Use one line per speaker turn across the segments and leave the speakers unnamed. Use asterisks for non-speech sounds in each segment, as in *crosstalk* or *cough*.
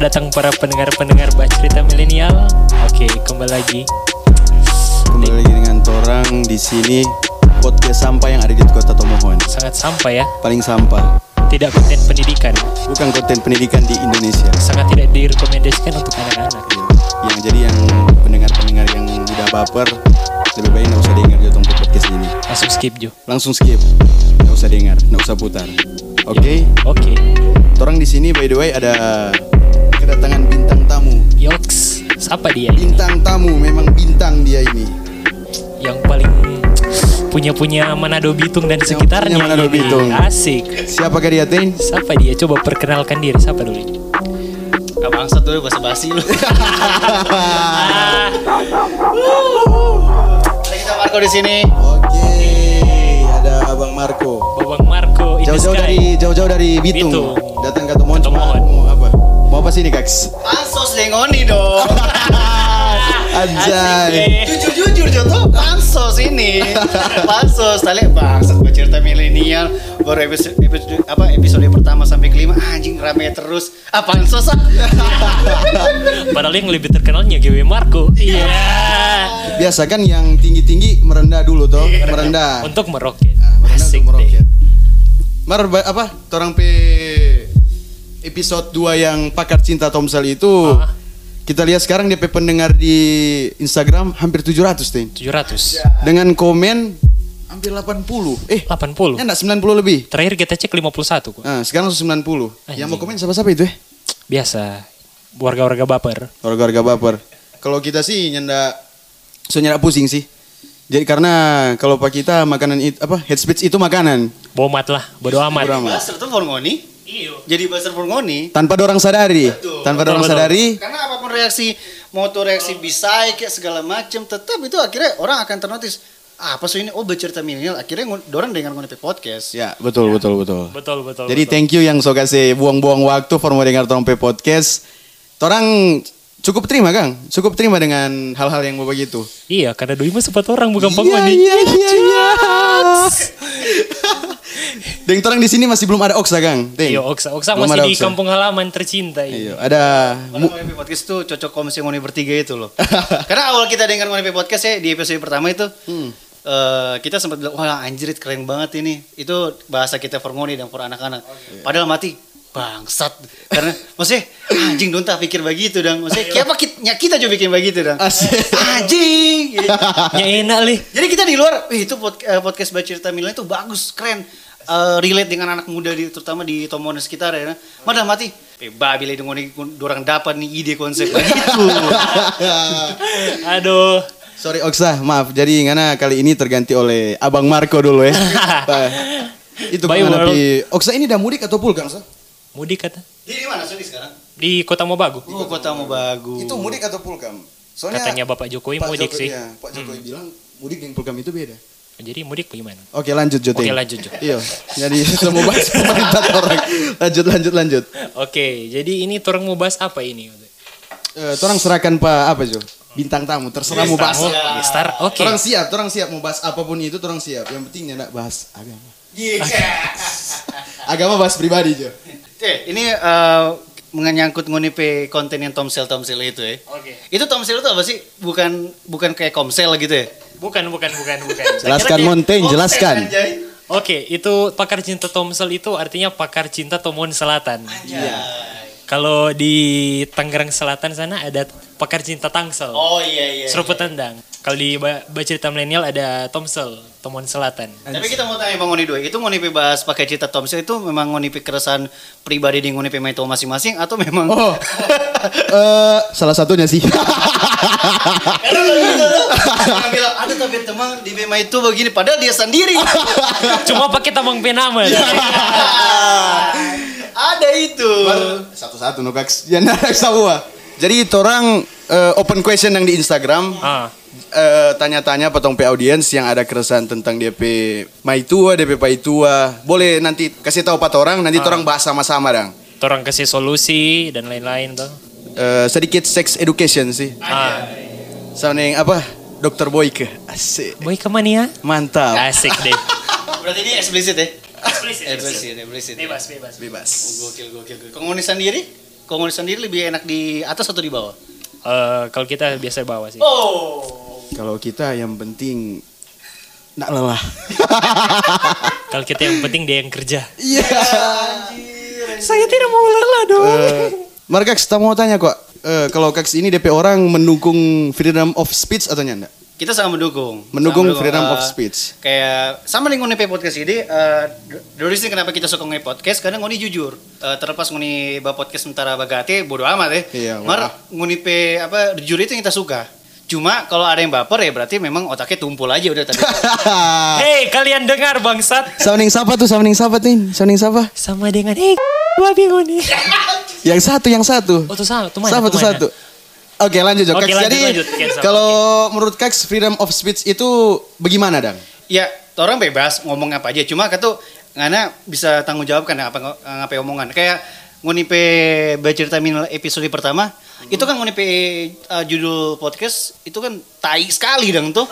datang para pendengar-pendengar Mbak Cerita Milenial. Oke, kembali lagi.
Kembali lagi dengan Torang di sini podcast sampah yang ada di Kota Tomohon.
Sangat sampah ya,
Paling sampah,
tidak konten pendidikan.
bukan konten pendidikan di Indonesia. Iya.
Sangat tidak direkomendasikan untuk anak-anak.
Yang jadi yang pendengar-pendengar yang udah baper lebih baik nggak usah dengar YouTube podcast ini.
Langsung skip Jo.
Langsung skip, nggak usah dengar, nggak usah putar. Oke,
Oke.
Torang di sini by the way ada kedatangan bintang tamu.
Yoks, siapa dia ini?
Bintang tamu memang bintang dia ini.
Yang paling punya-punya Manado Bitung dan
Yang
sekitarnya.
punya Manado
ini.
Bitung.
Asik.
Siapakah dia Tin?
Siapa dia? Coba perkenalkan diri. Siapa dulu?
Gak bangsat dulu bahasa basi lu.
Ah.
Ada kita Marco di sini.
Oke, ada Abang Marco.
Babang Marco. in the
jauh-jauh
sky.
dari jauh-jauh dari Bitung,
Bitung.
datang ke Tomohon cuma
Tomohon.
mau apa mau apa sini kaks
Pansos dengoni dong.
Asik, eh.
anjay
jujur jujur contoh pansos ini. Pansos tali bangsat buat cerita milenial baru episode, episode apa episode pertama sampai kelima anjing rame terus. Ah pansos ah.
Padahal yang lebih terkenalnya GW Marco. Iya.
biasa kan yang tinggi-tinggi merendah dulu toh merendah
Untuk meroket.
Nah, merendah
Iya. Asik
untuk meroket
deh.
mar ba- apa orang p episode 2 yang pakar cinta Tomsel itu
Ah.
kita lihat sekarang DP pendengar di Instagram hampir 700 ting
700.
dengan komen hampir 80 eh
80.
enggak 90 lebih
Terakhir kita cek 51 kok.
nah, sekarang langsung 90 yang mau
Anjing.
komen siapa-siapa itu eh
Biasa. Warga-warga baper.
Warga-warga baper. Kalau kita sih nyenda so nyenda pusing sih. Jadi karena kalau pak kita makanan itu apa head speech itu makanan
Bomat lah, bodo amat.
Bodo amat.
Baser tuh Forngoni. Iyo. Jadi baser Forngoni.
tanpa dorang sadari, tanpa
Betul,
dorang
betul.
sadari
Eh, Karena apapun reaksi, mau tuh reaksi bisai kayak segala macem, tetap itu akhirnya orang akan ternotis. Ah, apa sih ini? Oh, bercerita milenial. Akhirnya ngon- orang dengar ngonepi podcast.
ya betul betul betul.
Betul, betul.
Jadi
betul.
thank you yang so kasih buang-buang waktu for mau dengar Torang Pe podcast. Torang cukup terima Kang, cukup terima dengan hal-hal yang mau begitu.
Iya, karena Doi mah sempat orang bukan
Iya
penghuni.
iya iya. iya. Deng Torang di sini masih belum ada Oksa Kang. Deng.
Iya, Oksa. Oksa
Belum ada
masih di
Oksa.
kampung halaman tercinta. iya.
Iya, ada
Orang ngonepi podcast itu cocok kalau misalnya ngonepi bertiga itu loh. Karena awal kita dengar ngonepi podcast ya di episode pertama itu, eh, kita sempat bilang, wah anjrit keren banget ini. Itu bahasa kita Forngoni dan for anak-anak. Padahal mati, bangsat. Karena, maksudnya, "Ah, anjing dontah pikir begitu dong. Maksudnya, kenapa kita, kita juga bikin begitu
*laughs*
dong.
Asik.
Anjing.
Ya enak lih.
Jadi kita di luar, wih itu pod- eh, podcast baca cerita milenial itu bagus, keren. Eh, relate dengan anak muda di, terutama di Tomohon dan sekitar ya. Madah mati. Iya. Eh babi lah dengan orang dapat nih ide konsep begitu.
Aduh.
*laughs* Sorry Oksa, maaf. Jadi Ngana kali ini terganti oleh Abang Marco dulu *laughs* ya. Pak, Itu
Bye,
menghadapi Oksa ini udah mudik atau pulang, Sa?
Mudik kata.
*laughs* Jadi mana Sudi sekarang?
Di Kota Mobagu.
Iya.
Oh, kota mau bagus.
Itu mudik atau pulkam? Soalnya
Katanya Bapak Jokowi
Pak
mudik
Jokowi-
sih. Hmm.
iya, Pak Jokowi bilang mudik dan pulkam itu beda.
Jadi mudik bagaimana?
Oke, lanjut Jotin.
Oke, lanjut, Jo.
Iya. Jadi *laughs* kita mau
*laughs*
bahas pemerintah orang. Lanjut lanjut lanjut.
Oke, jadi ini orang mau bahas apa ini?
Eh, orang serahkan Pak apa, Jo? Bintang tamu, terserah mau bahas.
Oh, Star. Oke.
Orang siap, orang siap mau bahas apapun itu, orang siap. Yang penting nggak bahas agama.
Iya.
Agama bahas pribadi, Jo.
Eh, ini eh, menyangkut ngunipe konten yang Tomsel Tomsel itu ya.
Oke.
Itu Tomsel itu apa sih? Bukan bukan kayak Komsel gitu ya?
Bukan, bukan, bukan, bukan. Saya kira
Jelaskan
kayak-
Montaigne,
Komsel,
jelaskan.
anjay.
Oke, itu pakar cinta Tomsel itu artinya pakar cinta Tomon Selatan.
Iya.
Kalau di Tangerang Selatan sana ada pakar cinta Tangsel,
Oh iya iya.
seruput tendang. Kalau di Ba- Bacerita Milenial ada Tomsel, Tomon Selatan.
Tapi kita mau tanya Bang Oni dulu, itu ngonipi bahas pakai cerita Tomsel itu memang ngonipi keresahan pribadi di ngonipi meto masing-masing atau memang
Oh, *laughs* eh salah satunya sih. *laughs*
Karena kalau gitu tuh, *laughs* orang bilang ada tapi teman di Bema itu begini padahal dia sendiri.
Cuma pakai tambang penama.
Iya. ada itu.
Satu-satu nukaks, ya narak semua. Jadi itu orang eh, open question yang di Instagram.
Ah.
Eh, tanya-tanya potong pe audiens yang ada keresahan tentang DP Maitua, DP Paitua. Boleh nanti kasih tahu empat orang, nanti orang bahas sama-sama dang.
Orang kasih solusi dan lain-lain tuh.
Eh, sedikit sex education sih.
Ah,
Sama yang apa? Dokter Boyke. Asik.
boy kemana ya?
Mantap.
Asik deh.
Berarti ini eksplisit ya?
Eksplisit,
Eksplisit, eksplisit.
Bebas, bebas.
Bebas.
Gokil, gokil, gokil. Kalau ngoni sendiri? Kongoni sendiri lebih enak di atas atau di bawah?
Eh, kalau kita biasa bawa sih.
Oh.
Kalau kita yang penting nggak lelah. *laughs*
Kalau kita yang penting dia yang kerja.
Iya.
*laughs* Saya tidak mau lelah dong.
Eh, Mari Kaks, kita mau tanya kok. Eh, kalau Kaks ini DP orang mendukung freedom of speech atau
*laughs*
enggak?
Kita sama mendukung.
Mendukung
Sama
freedom of
Eh,
speech.
Kayak sama dengan Ngoni Pay Podcast ini, eh dari sini kenapa kita suka Ngoni Podcast karena Ngoni jujur. Eh, terlepas Ngoni Ba Podcast sementara Bagate bodo amat ya.
Iya,
Mar Ngoni Pay apa jujur itu yang kita suka. Cuma kalau ada yang baper ya berarti memang otaknya tumpul aja udah tadi.
*laughs*
Hei kalian dengar bangsat
sounding siapa tuh? Sounding siapa nih? Sounding siapa?
sama dengan hei gua bingung nih.
Yang satu, yang satu.
Oh tuh sama, tuh mana?
Sama
tuh
tuh
mana?
satu. Oke lanjut Jok.
Oke,
Kaks,
lanjut,
Jadi
lanjut. Cancel,
kalau menurut Kaks freedom of speech itu bagaimana Dang?
ya orang bebas ngomong apa aja cuma kata ngana bisa tanggung jawab kan apa ngapain omongan kayak ngunipe bercerita minimal episode pertama itu kan ngunipe eh, judul podcast itu kan tai sekali dong tuh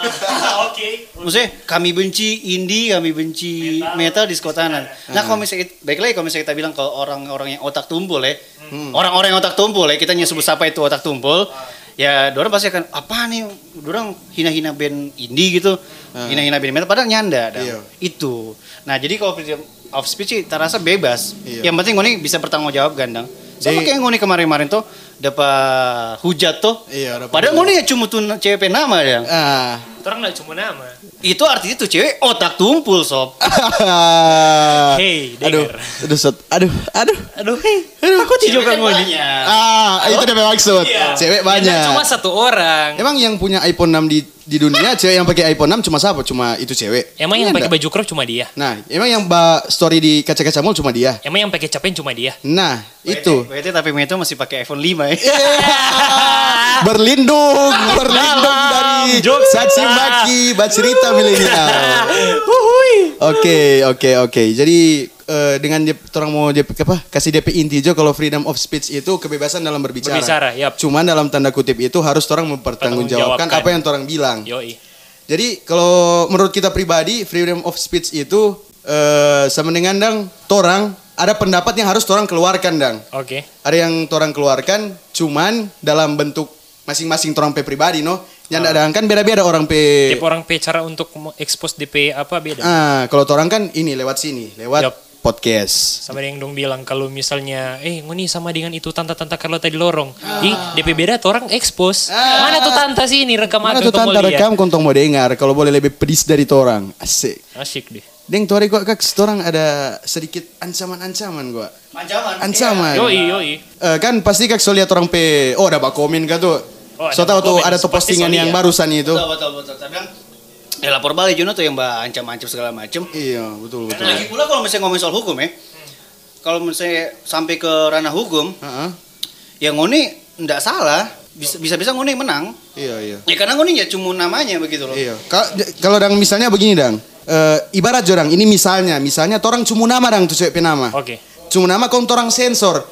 Oke.
maksudnya kami benci indie kami benci metal, di diskotanan nah kalau misalnya baik lagi kalau misalnya kita bilang kalau orang-orang yang otak tumpul ya orang-orang yang otak tumpul ya kita nyebut siapa itu otak tumpul ya dorang pasti akan apa nih dorang hina-hina band indie gitu hina-hina band metal padahal nyanda dah.
Iya.
itu nah jadi kalau freedom of speech sih terasa bebas
Iya.
yang penting Ngoni bisa bertanggung jawab gandang sama
Jadi-
kayak Ngoni kemarin-kemarin tuh dapat hujat tuh
Iya, dapat
padahal
hujat.
Ngoni ya cuma tuh cewek nama ya
Ah.
Orang nggak cuma nama.
itu artinya tuh cewek otak tumpul sob.
*laughs* Hey,
*laughs* aduh,
denger.
aduh, set. aduh, aduh.
Aduh, hei, aku tidak
Cewek
kamu
kan
ini.
banyak. Iya.
Ah, itu udah maksud. Cewek banyak.
Iya. Cuma satu orang.
Emang yang punya iPhone 6 di di
*laughs*
dunia cewek yang pakai iPhone 6 cuma siapa? Cuma itu cewek.
Emang yang
Iya
pakai
enggak?
baju crop cuma dia.
Nah, emang yang ba- story di kaca-kaca mall cuma dia.
Emang yang pakai capen cuma dia.
Nah, itu. Iya.
Berarti tapi itu masih pakai iPhone 5 ya.
berlindung, berlindung dari
jokes.
caci maki, cerita milenial.
Wuhui.
Oke, oke, oke. Jadi eh, dengan dia, orang mau dia, apa? Kasih DP inti aja kalau freedom of speech itu kebebasan dalam berbicara.
Berbicara, yap.
Cuman dalam tanda kutip itu harus orang
Pertanggungjawabkan.
mempertanggungjawabkan apa yang orang bilang.
Yoi.
Jadi kalau menurut kita pribadi freedom of speech itu eh sama dengan dang torang ada pendapat yang harus torang keluarkan dang.
Oke.
Ada yang torang keluarkan cuman dalam bentuk masing-masing torang pe pribadi no. Yang ada dang kan beda-beda orang pe.
Tiap orang pe cara untuk expose DP apa beda.
Ah, kalau torang kan ini lewat sini, lewat
Yap.
podcast.
Sama ada yang dong bilang kalau misalnya, eh ngoni sama dengan itu tante-tante Carlota di lorong.
Ah.
Ih, DP beda tuh orang expose. Mana tuh tante sih ini rekam
Mana
aku
tuh
tuh mau
tante
lihat.
rekam kontong mau dengar kalau boleh lebih pedis dari torang. Asik.
Asik deh.
Deng tuari gua kak, torang ada sedikit ancaman-ancaman gua.
Ancaman. Iya.
Ancaman.
Yoi, yoi.
Eh, kan pasti kak so lihat orang pe oh ada bak komen kak tuh
Oh, ada
so tau
bak
tuh
komen.
ada tuh
Pasti
postingan
so
yang
lihat.
barusan itu
Betul betul betul. Tapi kan ya lapor balik Juno tuh yang bah ancam-ancam segala macem.
iya betul betul Hmm.
Lagi pula kalau misalnya ngomongin soal hukum ya. Kalau misalnya sampai ke ranah hukum,
Heeh.
ya Ngoni ndak salah. Bisa- Bisa-bisa Ngoni menang.
iya iya
Ya karena Ngoni ya cuma namanya begitu loh.
iya Ka- j- kalau dang misalnya begini dang Eh, ibarat jorang ini misalnya misalnya torang cumu nama dang tuh cewek penama
Oke.
cumu nama kau torang sensor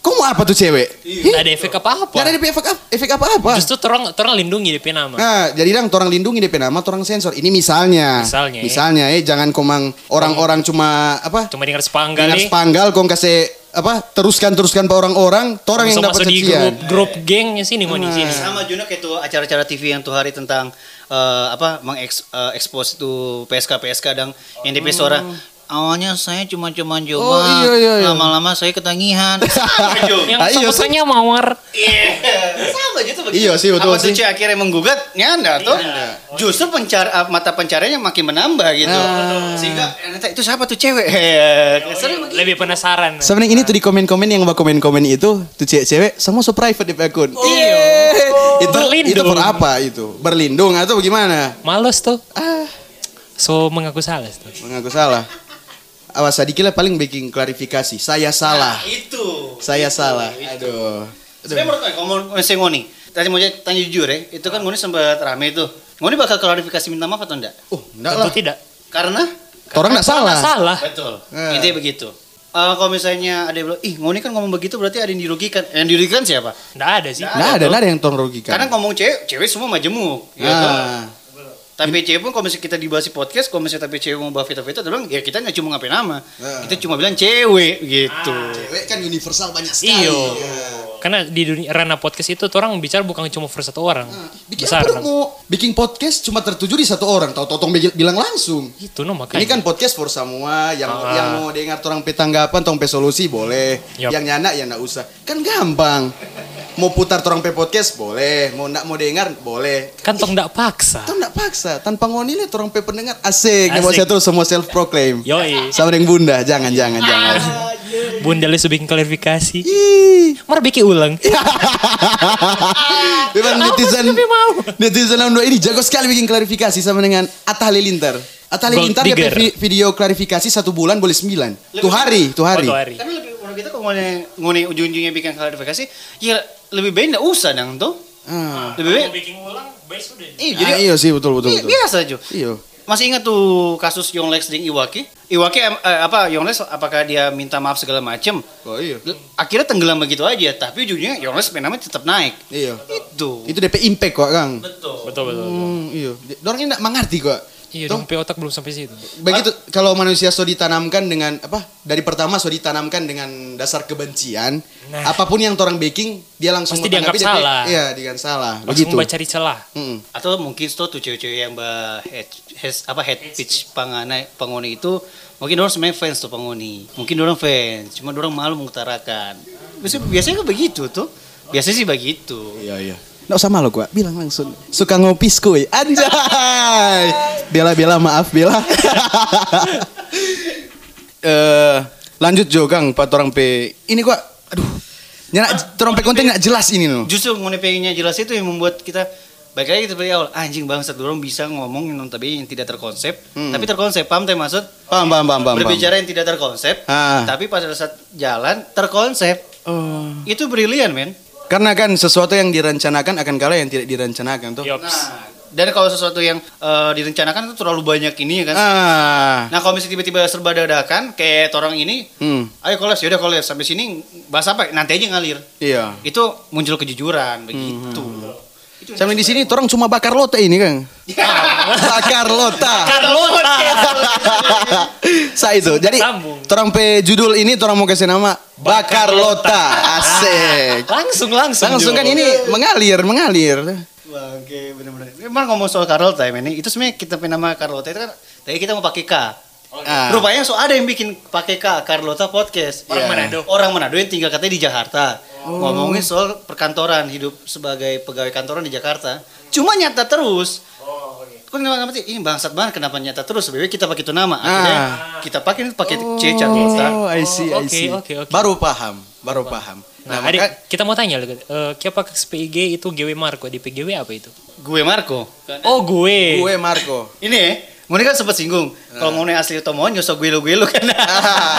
kau mau apa tuh cewek
Iya. Nggak ada efek apa-apa.
Gak ada DP efek apa efek apa apa
Justru terang terang lindungi DP nama.
Nah, jadi dang torang lindungi DP nama torang sensor. Ini misalnya.
Misalnya, eh.
Misalnya eh jangan komang orang-orang cuma apa?
Cuma dengar sepanggal
Dengar
nih.
sepanggal kong kasih apa teruskan teruskan ke orang-orang orang yang
Masuk
dapat Ah.
masuk di
cacian
grup grup gengnya sini ngoni sini.
Sama Juno kayak tuh acara-acara TV yang tuh hari tentang eh, apa mengekspos itu PSK PSK dan yang DP suara. Awalnya saya cuma-cuma coba,
Oh, iya, iya, iya.
lama-lama saya ketagihan.
*laughs*
Sama Jo.
Yang
Ah, iya,
sangkutannya mawar.
Sama aja tuh begitu.
Iya sih, betul
Apa tuh
sih. Iya.
Ci akhirnya menggugat, nyanda tuh. Justru pencar ah, mata pencariannya makin menambah gitu.
Nah.
Sehingga eh, nanti itu siapa tuh cewek? *laughs* Hehehe. Seru begitu.
Lebih penasaran.
Sebenarnya ini tuh di komen-komen yang bak komen-komen itu tuh cewek-cewek semua so private di akun.
Iya.
Itu
Berlindung.
itu for apa itu? Berlindung atau bagaimana?
Males tuh.
Ah,
So mengaku salah tuh.
mengaku salah. Awas sedikit lah paling bikin klarifikasi. Saya salah.
Nah, Itu.
Saya salah. Aduh.
Sebenarnya menurut gue, kalau mau si Ngoni, tadi mau j- tanya jujur ya, itu kan Ngoni sempat rame itu. Ngoni bakal klarifikasi minta maaf atau enggak?
Oh, enggak lah.
Tentu tidak.
Karena
Orang enggak
Karena
salah.
Salah.
Betul.
Eh.
Intinya begitu. Eh, kalau misalnya ada yang bilang, ih Ngoni kan ngomong begitu berarti ada yang dirugikan. Eh, Yang dirugikan siapa?
Enggak ada sih.
Kan. Enggak ada, enggak ada yang tolong rugikan.
Karena ngomong cewek, cewek semua majemuk. Gitu.
Ah.
ya Tapi cewek pun kalau misalnya kita dibahas di podcast, kalau misalnya tapi cewek mau bahas Vita Vita, dia bilang ya kita nggak cuma ngapain
Ah.
nama,
Nah.
kita cuma bilang cewek gitu.
Cewek kan universal banyak sekali.
Iyo.
Ya.
Karena di dunia ranah podcast itu orang bicara bukan cuma for satu orang.
Ah,
Bikin
Besar.
apa lu mau bikin podcast cuma tertuju di satu orang. Tahu totong bi- bilang langsung.
Itu no makanya.
Ini kan podcast for semua yang
Ah.
yang mau dengar orang petanggapan tong pe solusi boleh.
Yap.
Yang nyana ya ndak usah. Kan gampang. Mau putar orang pe podcast boleh, mau ndak mau dengar boleh.
kan tong ndak paksa.
Tong ndak paksa, tanpa ngoni le orang pe pendengar
Asik.
asik. Nyewa saya terus semua self proclaim.
Yoi,
Sama dengan bunda, jangan jangan jangan.
Ah. bunda lu sudah bikin klarifikasi.
Ih.
Mar bikin ulang.
Memang
Apa
netizen
sih, mau?
netizen dalam dua ini jago sekali bikin klarifikasi sama dengan Atta Halilintar. Atta
Gold
Halilintar dia
digger.
pe- video klarifikasi satu bulan boleh sembilan. Tuh hari, tuh hari.
Waktu Oh, hari.
Karena lebih orang kita kalau ngone ngone ujung-ujungnya bikin klarifikasi, ya lebih baik nggak usah dong tuh.
Ah.
Lebih baik.
bikin ulang, baik sudah.
Iya,
Ah,
jadi
iya sih betul betul.
bi-
betul.
biasa aja.
Iya.
Masih ingat tuh kasus Yonglex dengan Iwaki? Iwaki em- eh, apa Yonglex apakah dia minta maaf segala macem?
Oh iya.
L- Akhirnya tenggelam begitu aja, tapi ujungnya Yonglex namanya tetap naik.
Iya.
Itu.
Itu DP impact kok, Kang.
Betul.
Betul betul.
Hmm, iya. Dorong ini enggak mengerti kok.
Iya, dong,
Tong-
pe otak belum sampai situ.
Begitu kalau manusia so ditanamkan dengan apa? Dari pertama so ditanamkan dengan dasar kebencian,
Nah.
apapun yang orang baking dia langsung
Pasti
menanggapi
dianggap
DP
salah.
Iya, dianggap salah.
Langsung
Begitu.
baca cari celah.
Mm-mm.
Atau mungkin tuh tuh cewek-cewek yang bah head, head- apa head pitch pangana pengoni itu mungkin orang sebenarnya fans tuh pengoni. Mungkin orang fans, cuma orang malu mengutarakan. Biasanya, biasanya kan begitu tuh. Biasanya sih begitu.
Iya, iya. Nggak usah malu gua, bilang langsung. Suka ngopi skuy. Anjay. Bela bela maaf bela. *laughs* Eh, lanjut Jo Kang, Pak Torang P. Ini gua aduh. Nyana Torang P konten nggak jelas ini loh.
Justru mengenai pengennya jelas itu yang membuat kita baik lagi kita dari awal "Ah, anjing bangsat dorong bisa ngomong yang tapi yang tidak terkonsep tapi terkonsep paham teh maksud
Paham, paham, Hmm. paham, paham.
berbicara yang tidak terkonsep
Ah.
tapi pada saat jalan terkonsep
Oh.
itu brilian men
Karena kan sesuatu yang direncanakan akan kalah yang tidak direncanakan
Nah.
tuh.
Yops.
dan kalau sesuatu yang eh, direncanakan itu terlalu banyak ini ya kan
Ah.
nah kalau misalnya tiba-tiba serba dadakan kayak orang ini
Hmm.
ayo koles yaudah koles sampai sini bahas apa nanti aja ngalir
Iya.
itu muncul
Hmm,
kejujuran begitu
Sampai di sini orang cuma bakar lota ini, Kang. bakar lota.
Carlota.
*laughs* Sa itu. Jadi
Sambung.
orang pe judul ini orang mau kasih nama bakar lota. Asik.
Langsung langsung.
*laughs* Langsung
Jo.
kan ini mengalir, mengalir.
Wah, oke benar-benar. Emang ngomong soal Carlota ya, ini itu sebenarnya kita punya nama Carlota itu kan tadi kita mau pakai K.
Ah.
Rupanya so ada yang bikin pakai K Carlota podcast.
Orang
Iya.
Manado.
Orang Manado yang tinggal katanya di Jakarta.
Oh.
Ngomongin soal perkantoran, hidup sebagai pegawai kantoran di Jakarta. Cuma nyata terus.
Oh, iya.
Kok kenapa ngerti? Ini bangsat banget kenapa nyata terus? Sebenarnya kita pakai itu nama. Akhirnya
Ah.
kita pakai pakai C Carlota.
Oh, I see,
Oh,
I
oke,
see.
oke, oke.
Baru paham, baru paham.
Nah,
maka-
adik, kita mau tanya lagi. Eh, kenapa SPG itu GW Marco di PGW apa itu?
Gue Marco.
Oh, gue.
gue Marco.
Ini ya, Mune kan sempat singgung. Kalau Mune asli Tomohon, nyosok gue lu gue lu kan. *laughs*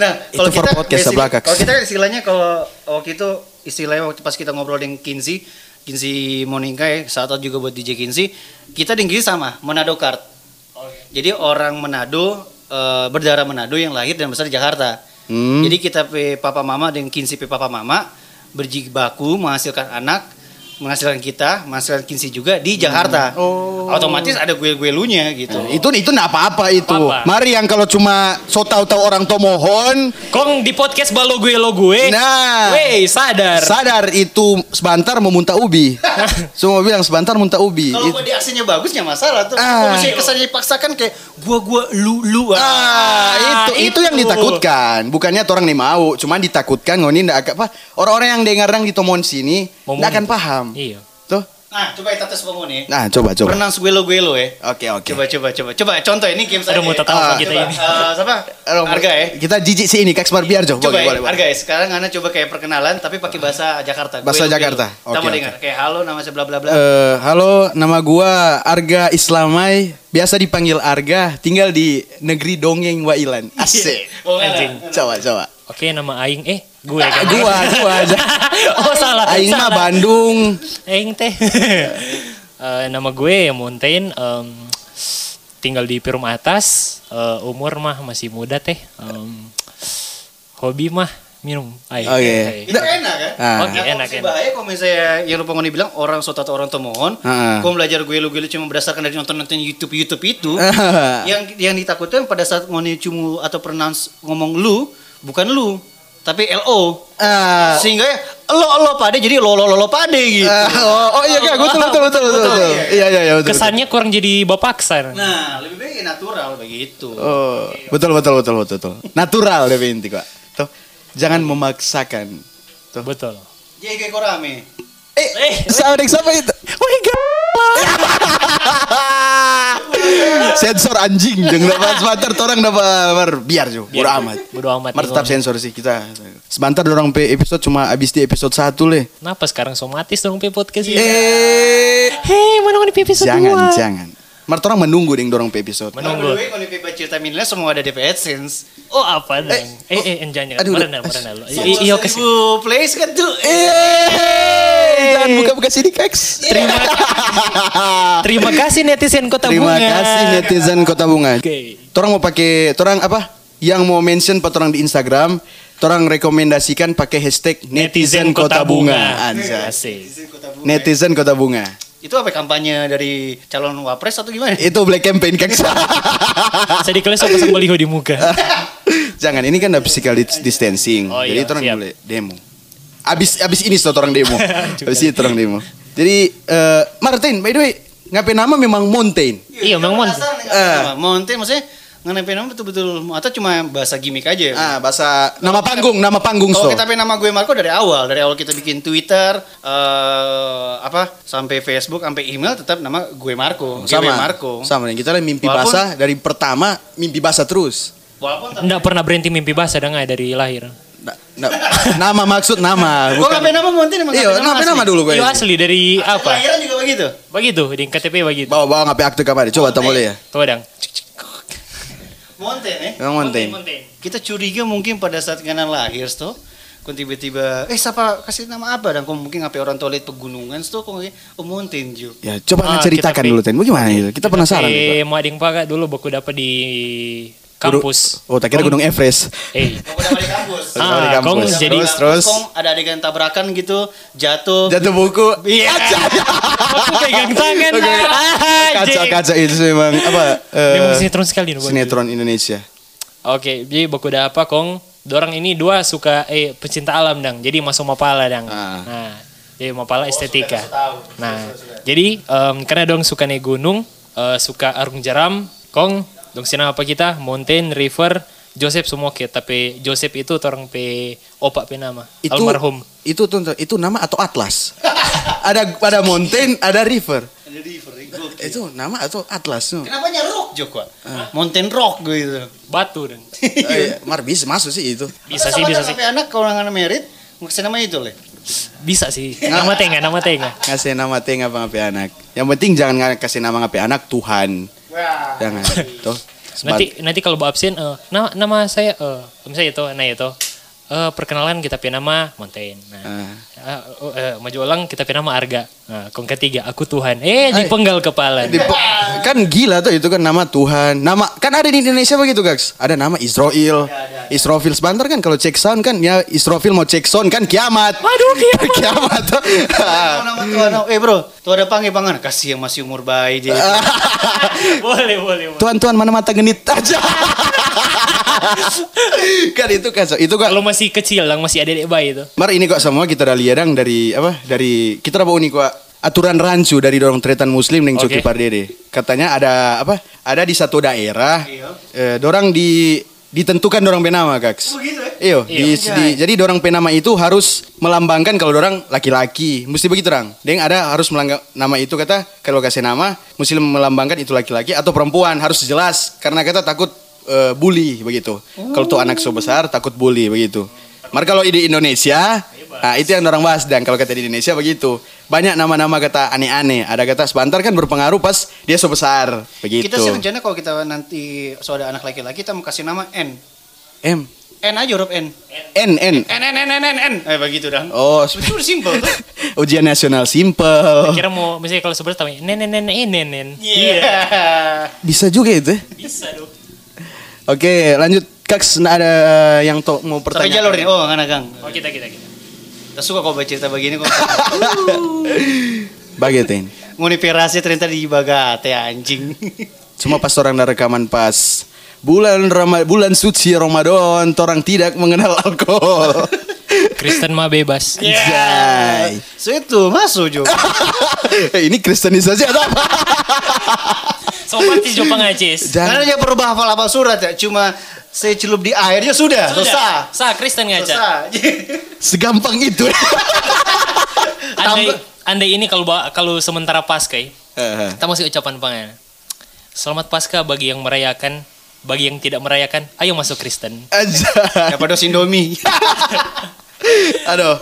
nah,
Itu
kalau
for
kita
podcast
basic-
sebelah, Kak.
Kalau kita istilahnya kalau waktu itu istilahnya waktu pas kita ngobrol dengan Kinzi, Kinzi Monika ya, saat juga buat DJ Kinzi, kita di Kinzi sama, Manado Card. Jadi orang Manado eh, berdarah Manado yang lahir dan besar di Jakarta.
Hmm.
Jadi kita pe papa mama dengan Kinsi pe papa mama berjibaku menghasilkan anak, menghasilkan kita, menghasilkan Kinsi juga di Jakarta.
Oh.
Otomatis ada gue-gue-lunya gitu.
Nah, Itu itu enggak apa-apa itu.
Apa-apa.
Mari yang kalau cuma so tahu-tahu orang tomohon,
Kong di podcast balo gue lo Eh, gue.
Nah.
Wey, sadar.
sadar itu sebentar memuntah
*laughs*
ubi. Semua bilang sebentar muntah ubi.
Kalau
It-
buat di aksinya bagus nggak masalah tuh.
Ah.
Kalau misalnya kesannya dipaksakan kayak gua gua lu lu.
Ah, itu, itu yang ditakutkan. Bukannya orang nih mau, cuman ditakutkan ngoni ndak agak apa orang-orang yang dengar yang di tomon sini
Mau
ndak akan
monitor.
paham.
Iya.
Tuh.
Nah, coba kita tes bangun ya.
Nah, coba coba.
Pernah gue lo gue lo ya.
Oke, oke.
Coba coba coba. Coba contoh ini game saya.
Aduh, mau
coba,
tahu
Ah,
kita ini.
eh, siapa?
Aduh,
Harga ya.
Kita jijik sih ini Kak Biar Jo. Boleh,
Coba ya,
boleh, boleh.
harga ya. Sekarang Anda coba kayak perkenalan tapi pakai bahasa Jakarta. Gue
Bahasa
lo, gue lo.
Jakarta.
Kita
Oke,
mau dengar kayak halo nama saya bla bla bla.
Eh, halo, nama gua Arga Islamai, biasa dipanggil Arga, tinggal di negeri dongeng Wailan. Asik.
Oh, enggak.
anjing.
Coba, coba.
Oke, nama aing eh gue kan.
Ah, Gua, gua
*laughs*
aja.
*laughs* oh, salah.
Aing mah
salah.
Bandung.
Aing teh. *laughs* Eh, nama gue Mountain em, tinggal di Pirum Atas. Eh, umur mah masih muda teh. Em, hobi mah minum air.
Oke.
Itu enak kan?
Ah.
Oke,
Nah,
enak,
kalau
enak.
Bahaya kalau misalnya yang lupa ngoni bilang orang soto atau orang tomohon,
Ah.
kau belajar gue lu gue cuma berdasarkan dari nonton nonton YouTube YouTube itu,
Ah.
yang yang ditakutkan pada saat ngoni cumu atau pronounce ngomong lu bukan lu tapi lo
*laughs* Ah.
sehingga ya lo lo pade jadi lo lo lo lo pade gitu.
Ah, oh, oh iya iya, betul betul betul betul. betul. Iya iya iya betul. betul.
Kesannya kurang jadi bapaksan.
Nah lebih baik ya natural begitu.
Oh, betul betul betul betul betul. Natural deh inti kok. Tuh, jangan memaksakan. Tuh.
Betul.
Jadi kayak korame.
Eh, eh saudek siapa itu? Oh my god. sensor anjing jangan dapat sebentar orang dapat biar jo bodo amat
Bodo amat.
Mar tetap sensor sih kita sebentar orang pe episode cuma habis di episode 1 leh
Kenapa sekarang somatis dong pe podcast
Iya.
ini?
eh
Hei, mana ngoni episode
jangan
dua?
jangan Mar orang menunggu ding dorong pe episode
Menunggu.
Kalau gue ngoni pipa cerita minilnya semua ada di AdSense.
Oh, apa dong? Eh, eh, jangan.
aduh,
Merenal,
aduh.
merenal. Iya,
Iya,
kasih.
plays kan tuh.
Iya. Eh, jangan buka-buka sini keks.
Terima Terima kasih netizen Kota
Terima
Bunga.
kasih netizen Kota Bunga.
Oke.
Torang mau pakai, torang apa? Yang mau mention pat orang di Instagram, torang rekomendasikan pakai hashtag netizen Kota Bunga. Anjas.
Asik.
Netizen Kota Bunga.
Itu apa kampanye dari calon wapres atau gimana?
Itu black campaign keks.
Saya dikelas sama sembeliho di muka.
*laughs* Eh. Jangan, ini kan ada physical dis- distancing.
Oh,
Jadi
iya,
torang
siap.
boleh demo. Abis abis ini tuh torang
*laughs*
demo. abis ini torang demo. Jadi eh, Martin, by the way, ngapain nama memang Mountain.
Iya, Bang Mon.
Eh, Monte maksudnya ngenepen nama betul-betul atau cuma bahasa gimmick aja.
Ah, bahasa nama panggung, nama panggung
Iya. Kalau
so.
kita pengen nama gue Marco dari awal, dari awal kita bikin Twitter, eh apa sampai Facebook, sampai email tetap nama gue Marco, GW
ya,
sama
Marco.
Sama nih, kita lah mimpi
Walaupun-
basah dari pertama mimpi basah terus.
Walaupun tapi-
Nggak pernah berhenti mimpi basah dah nggak dari lahir.
Na- na- Nah, nama maksud
*laughs*
nama.
Oh,
Gue ngapain nama Monte emang
Iya, nama
ngapain
nama
asli?
dulu gue.
Iya asli dari apa?
Kelahiran juga begitu.
Begitu di KTP begitu.
Bawa bawa ngapain akte kamari.
Oh,
Coba tamu boleh ya.
Tuh dang.
Monte nih.
Memang penting.
eh? Kita curiga mungkin pada saat kanan lahir tuh Kun tiba-tiba, eh siapa kasih nama apa dan kok mungkin ngapain orang toilet pegunungan tuh kok ngapain, oh Mountain Dew.
Ya, coba
Ah,
ceritakan
kita
dulu Ten. Bagaimana itu? Kita penasaran. nih, Pak.
Eh, mau ading pakai dulu baku dapat di kampus.
Oh, tak kira Gunung Everest.
Eh,
Kok udah balik kampus.
Terus
Ah,
di kampus.
kong
terus,
jadi-
terus, terus.
Kong ada adegan tabrakan gitu, jatuh.
jatuh buku.
Iya.
aku Oh. *laughs* pegang tangan.
Oke.
Ah, anjing.
Kaca-kaca itu memang apa? eh,
Memang sinetron sekali nih. Bang.
sinetron Indonesia.
Oke, jadi baku dah apa kong? Dorang ini dua suka eh pecinta alam dang. Jadi masuk mapala dang.
Ah.
Nah, jadi mapala estetika. nah, jadi em, karena dong suka naik gunung, eh, suka arung jeram, kong dong sina apa kita? Mountain, river, Joseph semua ke, tapi Joseph itu orang pe opak pe nama.
Itu
Almarhum.
Itu tuh itu nama atau atlas? *laughs* ada ada mountain, ada river.
Jadi Ferry, eh, gua-
Iya.
Itu nama atau atlas? no?
Kenapa nyeruk Joko?
Ah.
Mountain Rock gue itu.
Batu dang.
Eh, Mar bisa masuk sih itu.
Bisa sih, bisa sih.
Sampai anak kalau nggak merit, ngasih nama itu leh.
Bisa sih. Nama tengah, nama tengah.
Kasih nama teh ngapa ngapain anak. Yang penting jangan nga- kasih nama ngapain anak Tuhan.
Wah.
Jangan. Tuh. Sebat-
Nanti nanti kalau Bu absen eh, nama, nama saya eh misalnya itu nah itu eh, perkenalan kita punya nama Mountain. Nah,
Ah.
eh, oh, eh, maju ulang kita punya nama Arga. Nah, kong ketiga aku Tuhan. Eh dipenggal kepala.
Di- kan gila tuh itu kan nama Tuhan. Nama kan ada di Indonesia begitu, Gags. Ada nama
Iya,
Israel. Israfil sebentar kan kalau cek sound kan ya Israfil mau cek sound kan kiamat.
Waduh, kiamat.
*laughs* kiamat. tuh.
Nama tuh anak, eh bro, tuh ada panggil pangan. Kasih yang masih umur bayi
*laughs*
dia.
boleh, boleh, boleh.
Tuhan Tuhan mana mata genit aja. *laughs* kan itu kan so. itu kan
Kalau masih kecil lang masih adik-adik bayi
Iya.
itu.
Mar ini kok semua kita dah liadang dari apa dari kita dah bau nih kok aturan rancu dari dorong tretan muslim neng Coki
Oke.
Pardede. Katanya ada apa? Ada di satu daerah
Iya.
eh, dorang di ditentukan dorang penama kaks.
gitu ya?
Iyo, Iya, di, di- jadi dorang penama itu harus melambangkan kalau dorang laki-laki. Mesti begitu orang. Deng ada harus melangga nama itu kata kalau kasih nama mesti melambangkan itu laki-laki atau perempuan harus jelas karena kata takut eh, bully begitu. Kalau tuh anak so
Oh.
besar takut bully begitu. Mar kalau di Indonesia, nah itu yang dorang bahas dan kalau kata di Indonesia begitu. Banyak nama-nama kata aneh-aneh. Ada kata sebentar kan berpengaruh pas dia so besar begitu.
Kita sih rencana kalau kita nanti so ada anak laki-laki, kita mau kasih nama N.
M
N aja huruf N.
N N.
N N N N N N. Eh begitu dah.
Oh, *laughs*
Betul simple. tuh.
ujian nasional simple.
Kira mau misalnya kalau sebelah tahu nenen nenen nenen.
Iya.
Bisa juga itu. ya?
Bisa dong.
Oke, lanjut Kak, sen- ada eh, yang to- mau
Sampai
pertanyaan.
jalur nih. Oh, kan Kang.
Oh kita kita kita.
Kita suka kok baca cerita begini
*laughs*
kok.
*laughs* Bagetin.
Nguni pirasi ternyata di bagate
*laughs*
anjing.
Cuma pas orang ada rekaman pas bulan Rama, bulan suci Ramadan, orang tidak mengenal alkohol. *laughs*
Kristen mah bebas.
Anjay.
So itu masuk juga.
Ah. Eh, Ini kristenisasi atau apa?
Sobat si Jepang acis.
Jangan.
Karena dia perlu hafal apa surat ya, cuma saya celup di airnya sudah, Iya, selesai.
Sa Kristen ngaca.
Selesai. *laughs*
Segampang itu. *laughs*
Andai, andai ini kalau ba- kalau sementara pasca, ya,
Eh,
kita masih ucapan pangan. Selamat pasca bagi yang merayakan, bagi yang tidak merayakan, ayo masuk Kristen.
Anjay.
Daripada sindomi.
Aduh.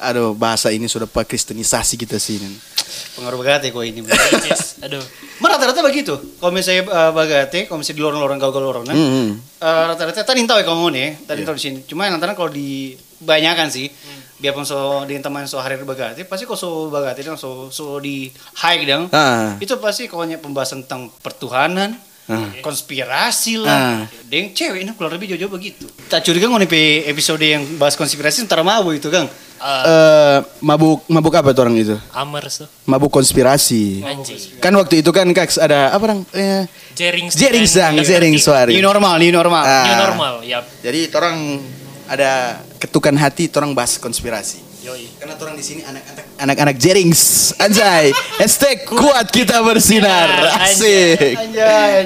Aduh, bahasa ini sudah pak kristenisasi kita sih. Nen.
*laughs* Pengaruh bagate kok ini.
Acis. Aduh.
Mah rata-rata begitu. Kalau misalnya eh, bagate, kalau misalnya di lorong-lorong gaul-gaul lorong,
Hmm. Iya.
Eh, rata-rata tadi tahu ya kamu nih tadi tahu di sini cuma yang lantaran kalau di banyakan sih
Hmm.
biarpun so di teman so hari bagati pasti kalau so bagati dong so so di hike dong
Ah.
itu pasti kalau nya pembahasan tentang pertuhanan
Ah.
konspirasi
Ah.
lah deng cewek ini kurang lebih jauh-jauh begitu tak curiga nggak nih pe- episode yang bahas konspirasi ntar mau itu kang
Eh,
Eh, mabuk mabuk apa tuh orang itu?
Amers tuh.
Mabuk konspirasi.
Anjing.
Kan waktu itu kan Kak ada apa orang? Eh,
Jering.
jering sang, jering suari.
new normal new normal
Ah.
New normal, ya, yap.
Jadi orang ada ketukan hati, orang bahas konspirasi.
Yoi.
Karena orang di sini anak-anak anak-anak jerings, anjay. Hashtag kuat kita bersinar, asik.
Anjay,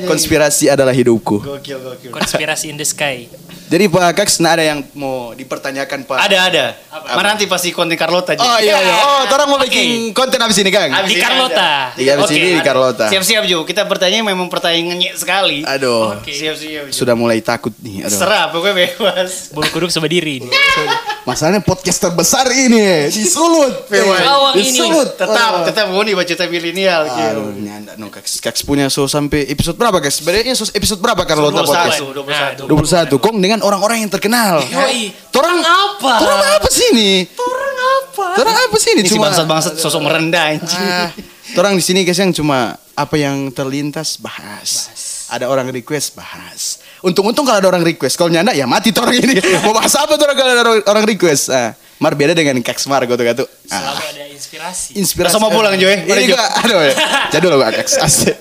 anjay.
Konspirasi adalah hidupku.
gokil gokil
Konspirasi in the sky.
Jadi Pak Kaks, nah ada yang mau dipertanyakan Pak?
ada ada
Apa?
Mana nanti pasti konten Carlota aja
Oh iya, iya. oh orang mau
Oke.
bikin konten abis ini Kang.
Di
Abis ini
Carlota.
aja.
Iya, abis
Oke,
ini di
ada.
Carlota.
Siap-siap Jo, kita bertanya memang pertanyaan nyek sekali.
Aduh,
Oke.
Siap-siap Jo.
sudah mulai takut nih. Aduh.
Serah, pokoknya bebas.
Bulu kuduk seberdiri.
Ah.
Masalahnya podcast terbesar ini disulut.
Bawang ini.
disulut.
Iya.
Oh.
Tetap, tetap gue nih baca cerita milenial. Gil.
Aduh, nyanda no Kaks. Kaks punya so sampai episode berapa Kaks? Sebenarnya so episode berapa Carlota
21,
podcast? Nah, Iya,
21.
21 Kong dengan orang-orang yang terkenal.
Yoi.
Torang
apa?
Torang apa sih ini? Torang apa? Torang apa sih ini?
Ini si
Cuma
bangsat-bangsat sosok merendah anjing.
Ah, *laughs* torang di sini guys yang cuma apa yang terlintas bahas. Ada orang request bahas. Untung-untung kalau ada orang request, kalau nyanda ya mati torang *laughs* ini. Mau bahas apa torang kalau ada orang- orang request? Ah, Mar beda dengan Kaks Mar gitu gitu. Ah,
Selalu ada inspirasi.
inspirasi. Eh,
Sama pulang, Joy. Mari,
Ini
Joy.
gua aduh. ya. Jadul gua Kaks. Asik.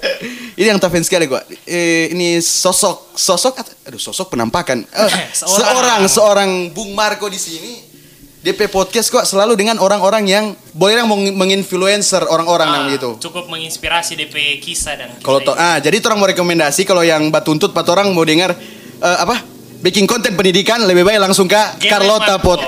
Ini yang tafin sekali gua. Eh, ini sosok sosok atau- aduh sosok penampakan. Eh,
Seorang.
seorang seorang Bung Marco di sini DP podcast kok selalu dengan orang-orang yang boleh yang meng- menginfluencer orang-orang yang
Ah,
gitu.
Cukup menginspirasi DP kisah dan
Kalau
kisah
to ah jadi orang mau rekomendasi kalau yang batuntut pat orang mau dengar eh, apa bikin konten pendidikan lebih baik langsung ke
Game
Carlota
Marco. Oke,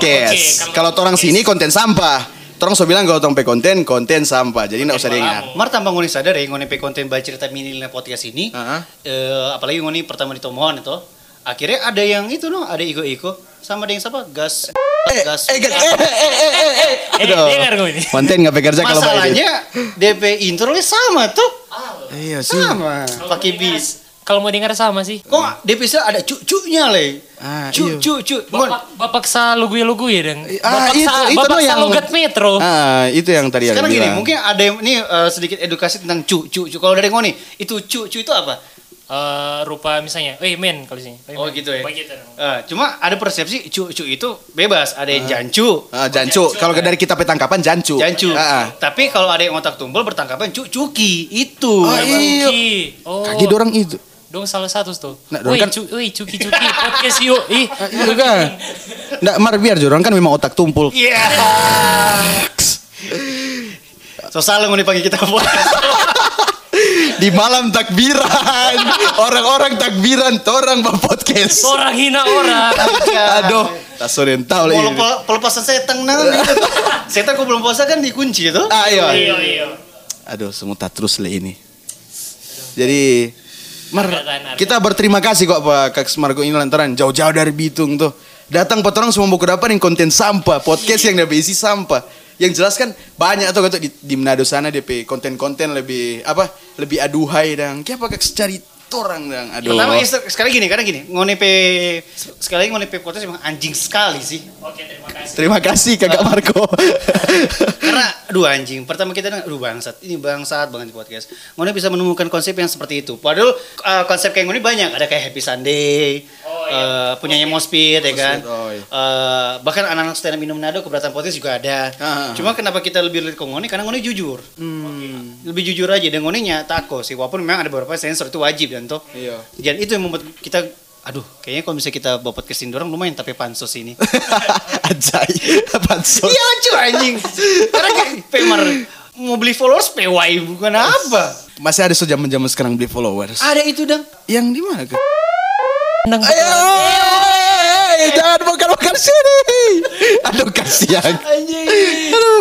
Carlota
Podcast. kalau orang
Podcast.
sini konten sampah. Orang so bilang kalau orang pe konten konten sampah. Jadi enggak usah
malam.
dengar.
Mar tambah ngoni sadar ya ngoni pe konten baca cerita milenial podcast ini.
Heeh.
Eh, apalagi ngoni pertama di Tomohon itu. Akhirnya ada yang itu no, ada iko-iko sama ada yang siapa? Gas.
Eh,
Gas.
eh, eh, eh, eh, eh, eh, eh.
Eh,
Aduh.
dengar gue ini.
Konten nggak pekerja kalau Pak Edit.
Masalahnya DP intro sama tuh.
Iya sih.
Sama.
Kalau
Pakai
mau dengar-
bis.
Kalau mau dengar sama sih.
Kok DP ada cucunya le?
Ah,
cu
iya.
cu cu. Mon,
Bapak, bapak sa lugu lugu ya deng.
Ah,
bapak
itu-
sa,
itu
bapak
tuh
sa
yang-
logat metro.
Ah, itu yang tadi aku
Sekarang gini,
bilang.
mungkin ada yang ini eh, sedikit edukasi tentang cu cu cu. Kalau dari Ngoni, itu cu cu itu apa?
Eh, rupa misalnya, eh men kalau sini.
Oh, gitu ya.
Begitu. dong.
Eh, cuma ada persepsi cu cu itu bebas, ada yang jancu.
Ah, jancu. Kalau dari kita petangkapan jancu.
Jancu.
Ah, ah.
Tapi kalau ada yang otak tumbal bertangkapan cu cuki itu.
Ah, iya.
Cuki. Oh,
Kaki dorang itu.
dong salah satu tuh.
Nah, dong
Woi,
kan-
cu- woi, cuki cuki podcast yuk. Ih,
Ah, Itu kan. Nggak, mar biar jorong kan memang otak tumpul.
Iya. So salah Ngoni panggil kita
Di malam *laughs* takbiran, orang-orang takbiran, orang berpodcast.
orang hina orang.
*laughs* Aduh, iya, tak sore tahu lah
Kalau
ini.
pel- pelepasan setan nah
*laughs*
gitu. Setan kok belum puasa kan dikunci itu.
Ah, iya.
Iya, iya.
Aduh, semua tak terus lah ini. Jadi Mar,
Tahan, tahan.
kita berterima kasih kok Pak Kak Semargo ini lantaran jauh-jauh dari Bitung tuh. Datang pak orang semua buku dapat yang konten sampah, podcast yang udah berisi sampah. Yang jelas kan banyak tuh kata di, di Manado sana DP konten-konten lebih apa? Lebih aduhai dan kenapa Kak cari torang dan aduh.
Pertama istri- sekali gini karena gini ngonepe sekali lagi ngonepe kota emang anjing sekali sih
Oke, terima kasih.
Terima kasih Kakak Marco.
karena aduh anjing pertama kita dengar aduh bangsat ini bangsat banget di podcast eh, ngone bisa menemukan konsep yang seperti itu padahal uh, konsep kayak ngone banyak ada kayak happy sunday
Oh,
eh, punyanya Mospit ya kan.
iya. Mospit, oh, iya.
Eh, bahkan anak-anak stand up minum Nado keberatan podcast juga ada.
Ah.
Cuma kenapa kita lebih relate ke Ngone karena Ngone jujur.
Hmm.
Lebih jujur aja dan Ngone nyata kok sih walaupun memang ada beberapa sensor itu wajib dan toh.
*laughs* Iya.
Dan itu yang membuat kita aduh kayaknya kalau misalnya kita bawa podcast orang lumayan tapi pansos ini.
Ajai. Pansos.
*laughs* Iya lucu anjing. Karena kayak pemar mau beli followers PY bukan apa.
Masih ada sejam jam sekarang beli followers.
Ada itu dong.
Yang di mana? Kak? Ayo, eh, jangan bongkar-bongkar sini. Aduh kasihan.
Anjing.
Aduh.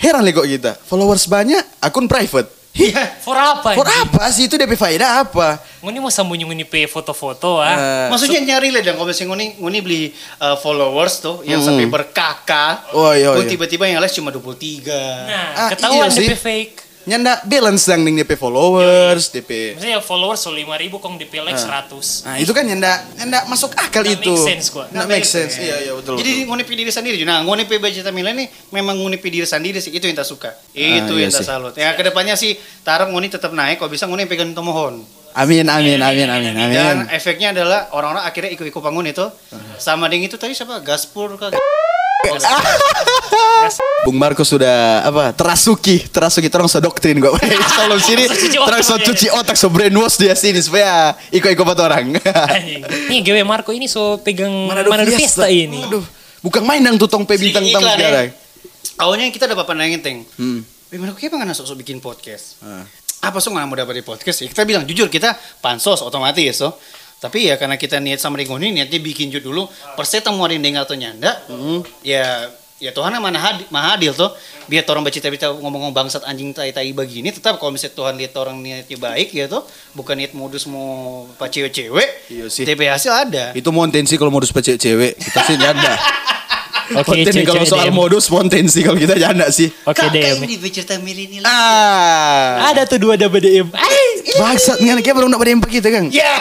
Heran deh kok kita. Followers banyak, akun private. Iya.
For apa?
For
anjing?
apa sih itu DP faedah apa?
Ngoni mau sambunjungin pe foto-foto ah.
Eh,
Maksudnya nyari lah dong kalau misalnya ngoni ngoni beli uh, followers tuh yang
Hmm.
sampai berkaka.
Oh, iya,
Terus
iya.
tiba-tiba yang les cuma 23.
Nah,
ah,
ketahuan
iya sih.
DP fake.
nyanda balance dang ning DP followers, DP.
Maksudnya followers 5 ribu, kong DP like 100.
Nah, itu kan nyanda nyanda masuk akal
Nggak
itu.
make sense, kok.
Nggak make sense. Iya, iya betul.
Jadi
betul.
ngoni pilih diri sendiri. Nah, ngoni pilih budget Milan ini memang ngoni pilih diri sendiri sih itu yang tak suka. Itu
iya
yang
sih.
tak salut. Ya kedepannya sih tarap ngoni tetap naik kalau bisa ngoni pegang tomohon.
amin amin amin amin amin.
Dan efeknya adalah orang-orang akhirnya ikut-ikut bangun itu sama dengan itu tadi siapa? Gaspur kah?
Bung Marco sudah apa terasuki terasuki terus so doktrin
*laughs*
gue sebelum sini
cuci otak
terus so
dia.
cuci otak so brainwash dia sini supaya ikut-ikut buat
*laughs*
orang
Anjing. Nih GW Marco ini so pegang Manado,
Manado
Fiesta. ini.
aduh bukan main dang tutong pe bintang
Sedikit
tamu
iklan, ya.
sekarang
Awalnya kita dapat pandangan teng.
Hmm.
Gimana kok kayak sok-sok bikin podcast?
Ah.
Apa sih nggak mau dapat di podcast? Ya, kita bilang jujur kita pansos otomatis so. Tapi ya karena kita niat sama Ringo ini niatnya bikin judul dulu. Persetan mau ada yang dengar atau nyanda.
Hmm.
Ya ya Tuhan yang mana hadi- maha adil tuh biar orang baca cerita ngomong-ngomong bangsat anjing tai-tai begini tetap kalau misalnya Tuhan lihat orang niatnya baik ya tuh bukan niat modus mau pak cewek-cewek
Iya sih.
tapi hasil ada
itu montensi kalau modus pecek cewek kita sih janda
*laughs* Oke,
Monten
cewek-cewek
kalau soal
DM.
modus montensi kalau kita janda sih
Oke
kakak
DM.
ini bercerita milenial
ah
Ada tuh dua double DM. Ay,
bangsat ngan kayak belum dapat empat kita kang
Ya.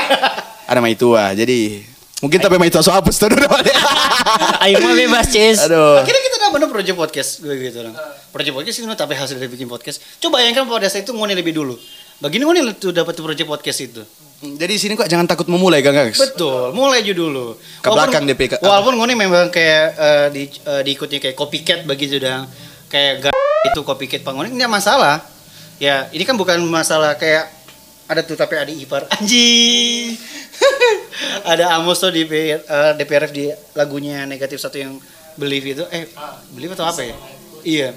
ada mai tua jadi mungkin tapi mai tua so hapus tuh dulu
*laughs* Ayo mah bebas, Cis.
aduh
Akhirnya kita udah bener project podcast gue gitu orang. Project podcast itu tapi hasil dari bikin podcast. Coba bayangkan pada saat itu ngone lebih dulu. Begini ngone tuh dapat project podcast itu.
jadi sini kok jangan takut memulai kang Gangs.
Betul, mulai aja dulu.
Ke belakang DP, ke-
Walaupun ngone memang kayak eh, di, eh, diikutnya kayak copycat bagi sudah kayak ga- itu copycat pangone enggak masalah. Ya, ini kan bukan masalah kayak ada tuh tapi ada ipar *laughs* anjing. *laughs* ada Amos tuh di P- eh, DPRF di lagunya negatif satu yang believe itu eh believe atau apa ya? Iya.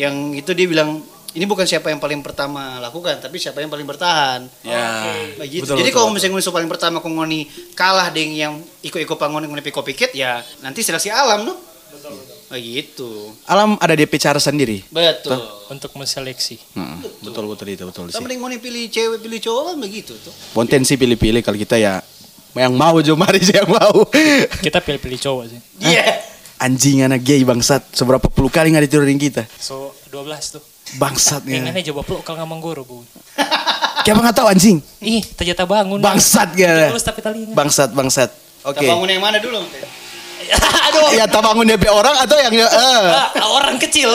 Yang itu dia bilang ini bukan siapa yang paling pertama lakukan, tapi siapa yang paling bertahan.
Ya.
Begitu.
Betul,
Jadi
betul,
kalau
betul.
misalnya ngoni paling pertama kok ngoni kalah deng yang iko-iko pangon ngoni piko pikit ya nanti seleksi alam no. Begitu.
alam ada DP cara sendiri.
Betul.
Untuk menseleksi.
Hmm, betul betul itu betul
Sama dengan ngoni pilih cewek pilih cowok kan begitu tuh.
Potensi pilih-pilih kalau kita ya yang mau jo mari sih yang
*laughs*
mau.
Kita pilih-pilih cowok sih.
Eh,
Iya.
Anjing anak gay bangsat seberapa puluh kali nggak diturunin kita.
So 12 tuh.
Bangsatnya.
Pengennya coba peluk kalau nggak manggoro, Bu.
Kenapa nggak tahu anjing?
Ih, ternyata bangun.
Bangsat gak?
Terus tapi telinga.
Bangsat bangsat. Oke.
Kita bangun yang mana dulu? Teh?
*laughs* Aduh,
Ya tabangun DP orang atau yang eh.
ah, orang
*laughs*
kecil.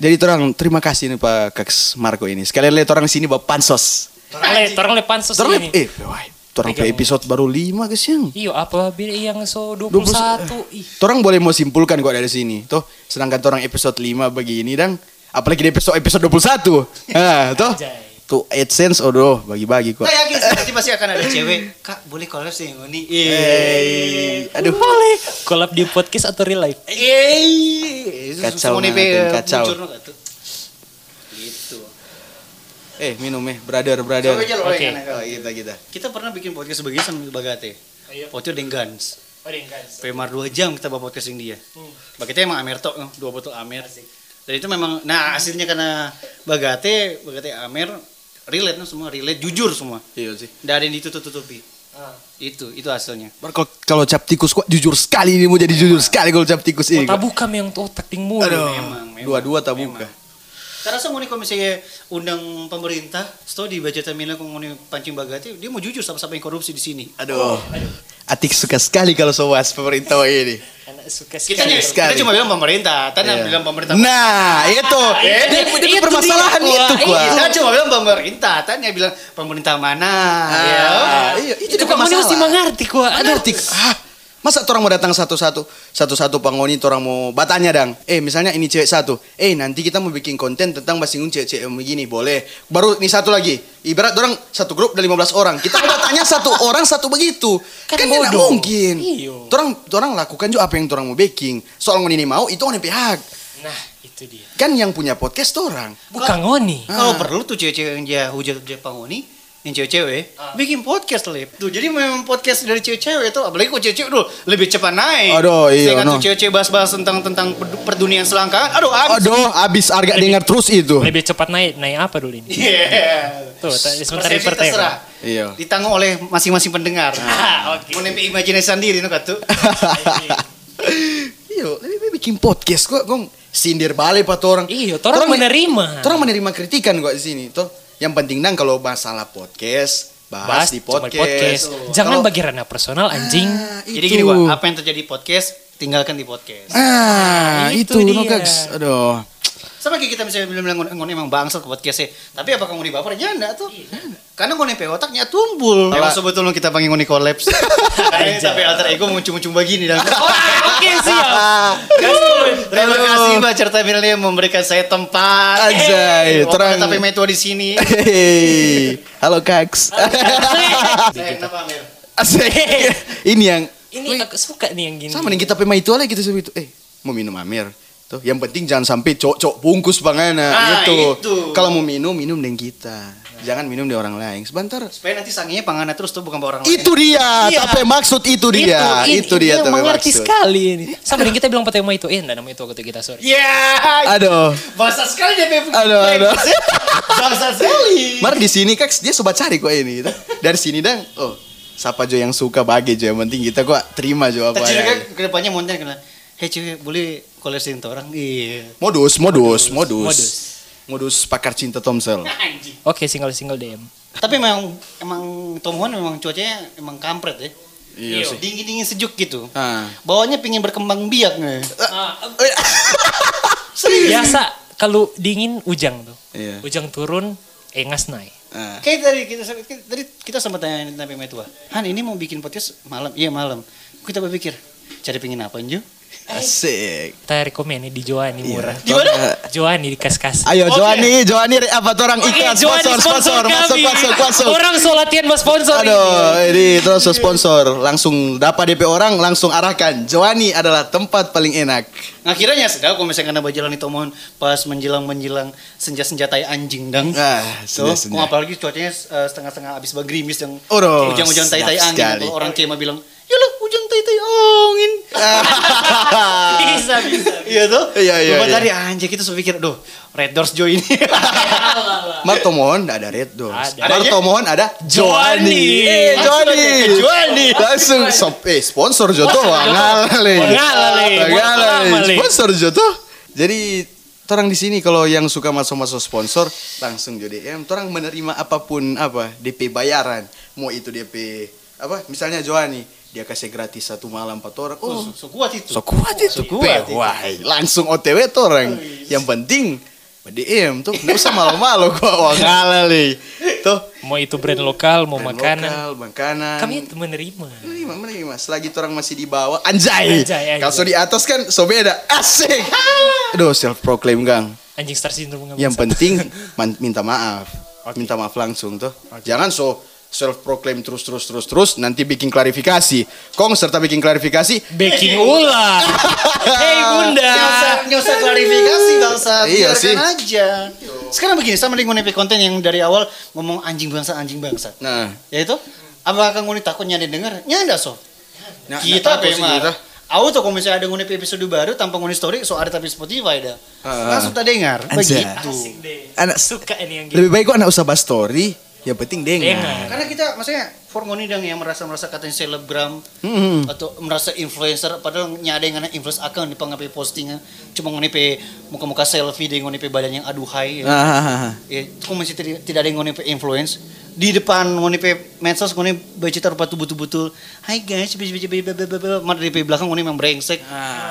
Jadi orang terima kasih nih Pak Kaks Marco ini. Sekalian lihat orang sini bawa pansos.
Oleh, orang oleh pansus
Terus
ini.
eh wah, orang ke episode baru 5 guys yang.
Iyo, apa bir yang so
21.
21. Ih,
Torang boleh mau simpulkan kok dari sini. Tuh, sedangkan torang episode 5 begini dan apalagi di episode episode 21. Nah, tuh.
Anjay.
Tuh AdSense odoh bagi-bagi kok.
Saya yakin sih, nanti pasti akan ada cewek. Kak boleh collab sih yang ngoni.
Eh, aduh.
boleh. Collab di podcast atau real life?
Eh.
Kacau banget,
Ngoni pe-
Teng, kacau.
muncul, no, gak tuh? Gitu.
Eh, minum eh, brother, brother.
Coba aja lo
Oke.
yang
Oh,
anak-anak.
kita kita.
Kita pernah bikin podcast sebagainya sama Bagate.
Iya.
Waktu itu dengan Guns.
Oh, guys.
Pemar 2 jam kita bawa podcasting dia.
Hmm.
Bagate emang Amer tok, noh, dua botol Amer. Dan itu memang, nah hasilnya karena Bagate, Bagate Amer, relate noh, semua, relate, jujur semua.
Iya sih.
Nggak ada yang ditutup-tutupi.
Ah.
Itu, itu hasilnya.
Bar, kalau- Kalau cap tikus kok jujur sekali ini
Oh,
mau jadi jujur sekali kalau cap tikus ini.
Kota buka yang tuh otak ting mulu.
Iya, Aduh,
Memang, memang.
dua-dua tak buka.
Karena saya ngoni kalau misalnya undang pemerintah, setelah di budgetan mina kalau ngoni pancing bagati, dia mau jujur sama-sama yang korupsi di sini.
Aduh. Atik suka sekali kalau sowas pemerintah ini.
Anak suka
Kita,
sekali.
nih,
Sekali.
kita cuma bilang pemerintah, tadi
Iya.
bilang pemerintah.
Nah, itu. Dia
itu
dia
dia,
permasalahan
Wak.
itu, Wah.
Kita cuma bilang pemerintah, tadi bilang pemerintah mana.
Ah.
ya.
Iya,
Itu
itu juga
kok mana mesti
masalah.
mengerti kok.
Ada arti. Ah, masa orang mau datang satu-satu, satu-satu pangoni orang mau batanya dang. Eh misalnya ini cewek satu, eh nanti kita mau bikin konten tentang basinggung cewek-cewek begini boleh. Baru ini satu lagi, ibarat orang satu grup ada 15 orang, kita mau batanya
*laughs*
satu orang satu begitu. Kan,
Kan
tidak
bodoh.
mungkin.
Iyo.
Orang orang lakukan juga apa yang orang mau baking. Soal ngoni ini mau itu ngoni pihak.
Nah, itu dia.
Kan yang punya podcast orang.
Bukan ngoni.
Kalau
Ah.
perlu tuh cewek-cewek yang dia hujat dia pangoni, yang cewek-cewek
Ah.
bikin podcast lip. Tuh jadi memang podcast dari cewek-cewek itu apalagi kok cewek-cewek dulu lebih cepat naik.
Aduh, iya,
Saya kan
no.
tuh cewek-cewek bahas-bahas tentang tentang per- perdunian selangkangan. Aduh, abis.
Aduh, abis harga dengar terus itu.
Lebih cepat naik naik apa dulu ini?
Yeah.
Tuh, tadi sebentar
Iya. Persepsi
per
terserah.
tema.
Iya.
Ditanggung oleh masing-masing pendengar.
Ah,
*laughs*
oke.
Menempi imajinasi sendiri no katu.
*laughs* Iyo, lebih baik Iya, bikin podcast kok, gong sindir balik pak orang.
Iyo, torang menerima.
Orang menerima kritikan kok di sini. Toh, yang penting dang kalau masalah podcast, bahas, di
cuma
podcast.
Jangan
Kalau-
bagi ranah personal
*laughs*
anjing.
Ah,
Jadi
itu.
gini, Wak, apa yang terjadi di podcast tinggalkan di podcast.
Ah, itu,
Itu
no,
dia.
Gags. Aduh.
Sama kayak kita misalnya bilang ngon ngon emang bangsat ke podcastnya. Tapi apakah ngoni baper? Ya enggak tuh. Karena ngoni pe otaknya tumpul.
Kalau-
Kalau sebetulnya kita panggil ngoni *laughs* kolaps. Karena ini sampai alter ego muncung-muncung begini. *laughs* dan-
Oke
*laughs*
siap. *laughs*
Terima kasih Mbak Cerita Milenia memberikan saya tempat.
Anjay, terang.
terang. Gitu. Tapi metua di *laughs* sini.
Hei, halo Gags.
Saya Eh, kenapa Amir?
*laughs* Asik. Ini yang
Ini aku suka nih yang gini.
sama nih kita pema itu aja gitu sebut itu. Eh, mau minum Amir. Tuh, yang penting jangan sampai cocok bungkus bangana
Ah,
gitu.
itu.
Kalau mau minum, minum dengan kita. Jangan minum dengan orang lain. Sebentar,
Supaya nanti sanginya panganan terus tuh bukan buat orang lain.
Itu dia,
Iya.
tapi maksud itu
Itu,
dia.
ini-
Itu,
ini
dia
yang
tapi
mengerti
maksud.
sekali ini. Sama nih kita bilang pada tema itu. Eh, enggak nama itu aku tuh kita sorry.
Ya.
Aduh.
Bahasa sekali dia Beb.
Aduh, aduh.
Bahasa sekali.
Mar di sini kak dia sobat cari kok ini. Dari sini dang. Oh, siapa jo yang suka bagi jo yang penting kita kok terima jo apa. ya?
Tadi
adanya.
kan kedepannya Monten kena. Hei cewek boleh kolesin tuh orang. Iya.
Modus, modus, modus. Modus,
Modus.
pakar cinta Tomsel.
Anjing.
Oke, single single DM.
Tapi memang emang Tom Hwan memang cuacanya emang kampret ya.
Iya sih.
Dingin dingin sejuk gitu.
Ah.
Bawahnya pingin berkembang biak nih.
Biasa kalau dingin ujang tuh.
Iya.
Ujang turun, eh ngas naik.
Ah.
Kayak tadi kita kayak tadi kita sempat tanya tentang pemain tua. Han ini mau bikin podcast malam. Iya malam. Kita berpikir cari pingin apa Ju?
Asik.
Kita rekomen nih di Joani murah.
Di mana?
Eh,
Joani di kas-kas.
Ayo
Oke.
Joani, Joani re- apa tuh orang iklan sponsor, sponsor, masuk, masuk, masuk.
Orang solatian mas sponsor
Aduh, eh. ini terus sponsor langsung dapat DP orang langsung arahkan. Joani adalah tempat paling enak.
Akhirnya sedap kalau misalnya karena berjalan itu mohon pas menjelang menjelang senja senja tai anjing dang.
Ah,
So,
senja-senja.
kok apalagi cuacanya eh, setengah-setengah abis bergerimis dan
Aduh,
hujan-hujan tai-tai
sedap
angin.
sekali.
Kalau orang kema bilang, yalah hujan tai-tai angin.
*laughs*
ini. Bisa, bisa.
Iya tuh.
Iya, iya,
Beberapa
iya.
hari anjir kita suka pikir, aduh, Red Doors Joy *laughs* ini.
Marto mohon ada Red Doors.
Ada.
Marto
Adanya-
mohon ada Joani.
Joani.
Eh, Joani.
Langsung ada Joani.
Langsung sop eh sponsor Joto ngal le.
Ngalal, Le.
Ngalal,
Ngalal,
Le.
Le.
Sponsor Joto. Jadi orang di sini kalau yang suka masuk-masuk sponsor langsung jadi DM. Orang menerima apapun apa DP bayaran. Mau itu DP apa misalnya Joani dia kasih gratis satu malam empat orang. Oh,
So kuat itu.
So kuat itu.
So kuat
Pe,
itu.
Wahai, langsung OTW tuh orang. Yang penting DM tuh nggak usah malu-malu kok wah ngalah li. Tuh
Mau itu brand lokal, mau
brand
makanan.
lokal, makanan.
Kami itu menerima.
menerima, menerima. Selagi orang masih di bawah, anjay.
Anjay, anjay.
Kalau so di atas kan so beda.
*laughs*
Asik. Aduh, self proclaim gang.
Anjing star syndrome
Yang penting man- minta maaf. Minta maaf langsung tuh. Jangan so self proclaim terus terus terus terus nanti bikin klarifikasi. Kong serta bikin klarifikasi.
baking
*laughs*
ulang. Hei bunda.
Nggak usah, nggak usah klarifikasi bangsa.
Iya
Biarkan
sih.
aja. Sekarang begini, sama dengan Epic Content yang dari awal ngomong anjing bangsa, anjing bangsa.
Nah,
Yaitu, apakah ngoni takutnya didengar? Nyanda sob.
nah, nah,
kita
takut sih kita.
memang Aku tuh kalau misalnya ada nguni episode baru tanpa nguni story, so ada tapi Spotify dah.
Ah.
Langsung tak dengar.
Anjay.
Begitu.
Asik deh.
Anak
Suka ini yang gitu. gini.
Lebih baik kok anak usah bahas story Ya penting dengar.
Dengar.
Karena kita maksudnya Forngoni dong yang merasa merasa katanya selebgram
Hmm.
atau merasa influencer padahal nyada yang ngana influence akang di pengapi postingan cuma ngonepe muka-muka selfie dengan ngonepe badan yang aduhai ya.
Ah,
Ya, kok masih tidak, tidak ada yang ngonepe influence di depan ngonepe medsos ngone baca rupa tuh betul-betul hai guys baca baca baca baca baca mana di belakang ngone memang brengsek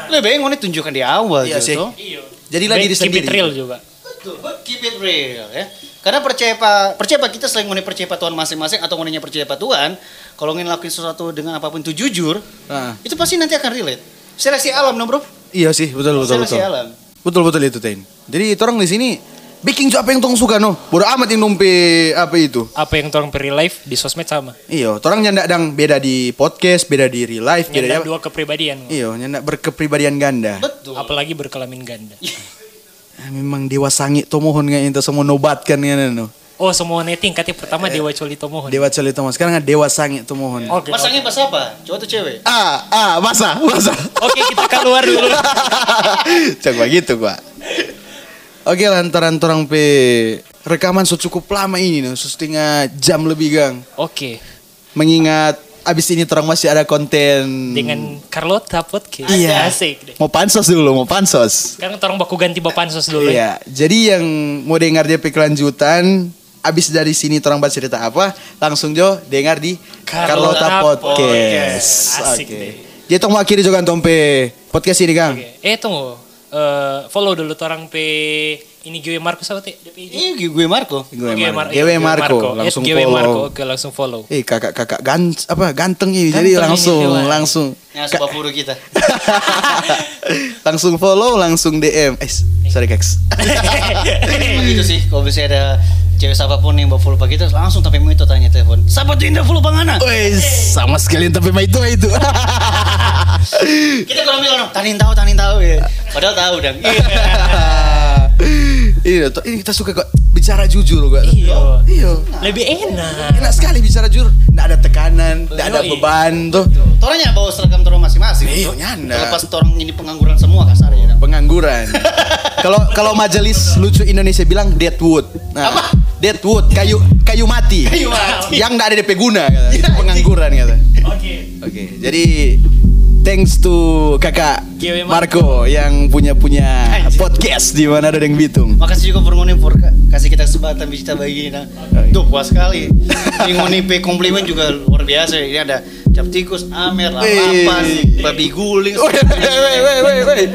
lebih baik ngone tunjukkan di awal
Nah. Iya
gitu.
sih.
Iya.
Jadilah
Baik,
diri
keep
sendiri.
it real juga.
Betul, but keep it real ya. Karena percaya pak, percaya pak kita selain mengenai percaya pak Tuhan masing-masing atau mengenai percaya pak Tuhan, kalau ingin lakuin sesuatu dengan apapun itu jujur,
Ah.
itu pasti nanti akan relate. Seleksi alam, no bro?
Iya sih, betul betul
Seleksi
betul.
alam.
Betul betul itu Ten. Jadi orang di sini bikin apa yang tong suka no. Bodo amat yang numpi apa itu.
Apa yang orang peri live di sosmed sama.
Iya, orang nyandak dang beda di podcast, beda di real life, beda di
Nyanda
apa.
dua kepribadian.
Iya, nyandak berkepribadian ganda.
Betul.
Apalagi berkelamin ganda.
Ah, Memang dewa sangi tomohon nggak itu semua nobatkan kan no.
Oh semua netting katanya pertama Dewa Coli Tomohon.
Iya. Dewa coli tomohon sekarang nggak dewa sangi tomohon.
Oke. oke.
Pasangnya pas apa? Cowok atau cewek?
Ah, ah, masa, masa.
Oke kita keluar
*laughs*
dulu.
Coba gitu gua. Oke lantaran orang pe rekaman secukup lama ini no, setengah jam lebih gang.
Oke
Mengingat abis ini orang masih ada konten
dengan Carlota Podcast.
Hmm. Iya.
Asik deh.
mau pansos dulu, mau pansos.
Sekarang orang baku ganti bapak pansos dulu. ya.
Iya, jadi yang mau dengar dia kelanjutan abis dari sini orang bahas cerita apa, langsung jo dengar di
Carlota
Carlota Podcast.
Podcast.
Oke.
Asik deh.
Jadi tong mau akhiri juga tompe podcast ini, Kang.
Oke. Eh tunggu. Eh, follow dulu orang P ini gue Markus apa teh? DPJ.
Iya, gue Marco.
Gue
Oke,
Mar-
Mar-
GW
eh,
Marco,
Eh,
langsung
GW
follow.
Marco. Oke langsung follow. *laughs*
Eh kakak-kakak gan apa ganteng ini
Ganteng
jadi
ini,
langsung
Dewa.
langsung Ka-
Yang sebab buru kita. *laughs*
*laughs* langsung follow langsung DM. Eh sorry *laughs* Keks.
Emang gitu sih, kalau bisa ada cewek siapapun yang bawa follow pak kita, langsung tapi mau itu tanya telepon. Siapa tuh indah follow pangana?
Wes sama sekali tapi mah itu itu. *laughs*
Kita kalau bilang, tanin tahu, tanin tahu
*laughs*
ya. Padahal tahu dong.
Ini tuh Iya, ini kita suka kok bicara jujur kok.
Iya.
Iya.
Lebih enak.
Enak sekali bicara jujur, enggak ada tekanan, enggak ada
Yoi.
beban tuh.
Toranya bawa seragam torong masing-masing.
Iya, nyanda.
Terlepas torong ini pengangguran semua kasarnya.
Pengangguran. *laughs* Kalau kalau majelis lucu Indonesia bilang deadwood. Nah,
Apa?
Deadwood, kayu kayu mati. Ya,
Kayu mati.
Yang enggak ada DP guna kata. Itu pengangguran kata.
Oke.
Oke, jadi thanks to kakak
GW
Marco yang punya punya
Anjir.
podcast di mana ada yang Bitung.
Makasih juga Furngoni Fur ka- kasih kita kesempatan bisa bagi nah.
Iya.
Duh puas sekali. Ini Ngoni P komplimen juga luar biasa. Ini ada cap tikus, amer, lalapan,
Wih.
babi guling.
*laughs* Weh, weh, weh, weh, weh.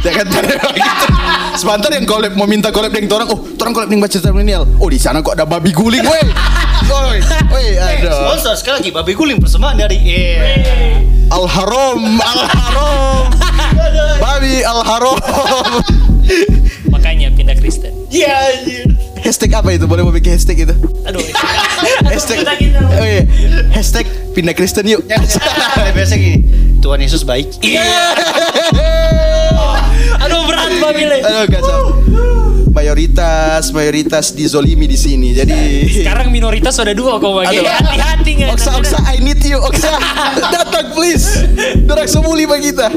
Jangan *laughs* terlalu gitu. Sebentar yang collab mau minta collab dengan orang. Oh, orang collab dengan baca terminal. Oh, di sana kok ada babi guling, *laughs* weh. Woi, woi,
Eh,
aduh.
Sponsor sekali lagi babi guling persembahan dari eh.
Al haram, al haram. Babi al haram.
Makanya pindah Kristen.
Iya anjir.
hashtag apa itu? Boleh mau bikin hashtag itu?
Aduh.
*laughs* Hashtag. Oh iya. Hashtag pindah Kristen yuk. *laughs*
Yang biasa gini. Tuhan Yesus baik.
Iya. Aduh berat babi le.
Aduh, kacau. Mayoritas, mayoritas dizolimi di sini. Jadi
Sekarang minoritas sudah dua kok bagi.
Aduh.
Hati-hati nggak.
Oksa, Oksa, I need you, Oksa. Datang please. Dorak semuli bagi kita.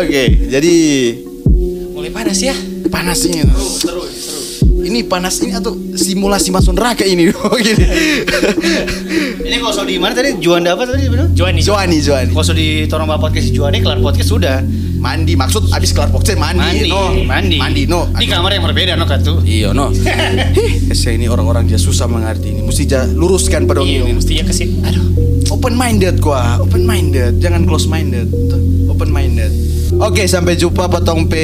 Oke, jadi
Mulai panas ya.
panas ini. Ini panas ini atau simulasi masuk neraka ini? *laughs* Oh, Gini.
Ini kalau soal di mana tadi? Juanda apa tadi benar?
Joan nih.
Joani, Joani.
Kalau soal di Torong Bapak Podcast Juanda kelar podcast sudah.
Mandi maksud abis kelar boxe mandi,
Mandi,
Iya, no.
mandi.
Mandi no.
Di kamar yang berbeda no katu.
Iya no. Hih, Eh, Saya ini orang-orang dia susah mengerti ini. Mesti ja- luruskan pada orang
Iya,
ini.
mestinya kasih. Aduh.
open minded gua open minded jangan close minded open minded oke sampai jumpa potong p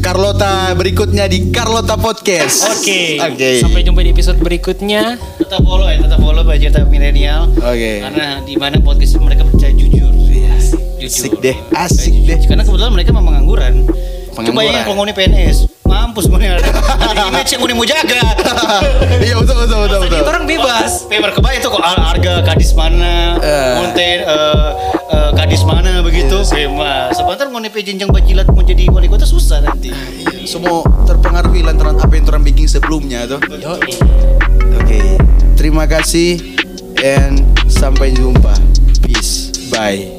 Carlota berikutnya di Carlota Podcast
Oke.
oke
Sampai jumpa di episode berikutnya.
Tetap follow ya, tetap follow Bajaj tetap milenial.
oke Iya,
Karena di mana podcast itu mereka percaya jujur.
asik deh asik deh
Karena kebetulan mereka memang pengangguran.
Pengangguran.
Coba yang penghuni PNS, mampus ngoni ada
*laughs*
ada image yang ngoni mau jaga.
iya betul betul betul betul
Orang bebas.
Paper kebayang tuh kok har- harga kadis mana,
Eh. Iya,
konten eh, eh, kadis mana begitu. Bema. Sebentar ngoni pe jenjang bajilat mau jadi wali kota susah nanti.
Iya. semua terpengaruhi lantaran apa yang orang bikin sebelumnya tuh oke
Yo.
terima kasih and sampai jumpa peace bye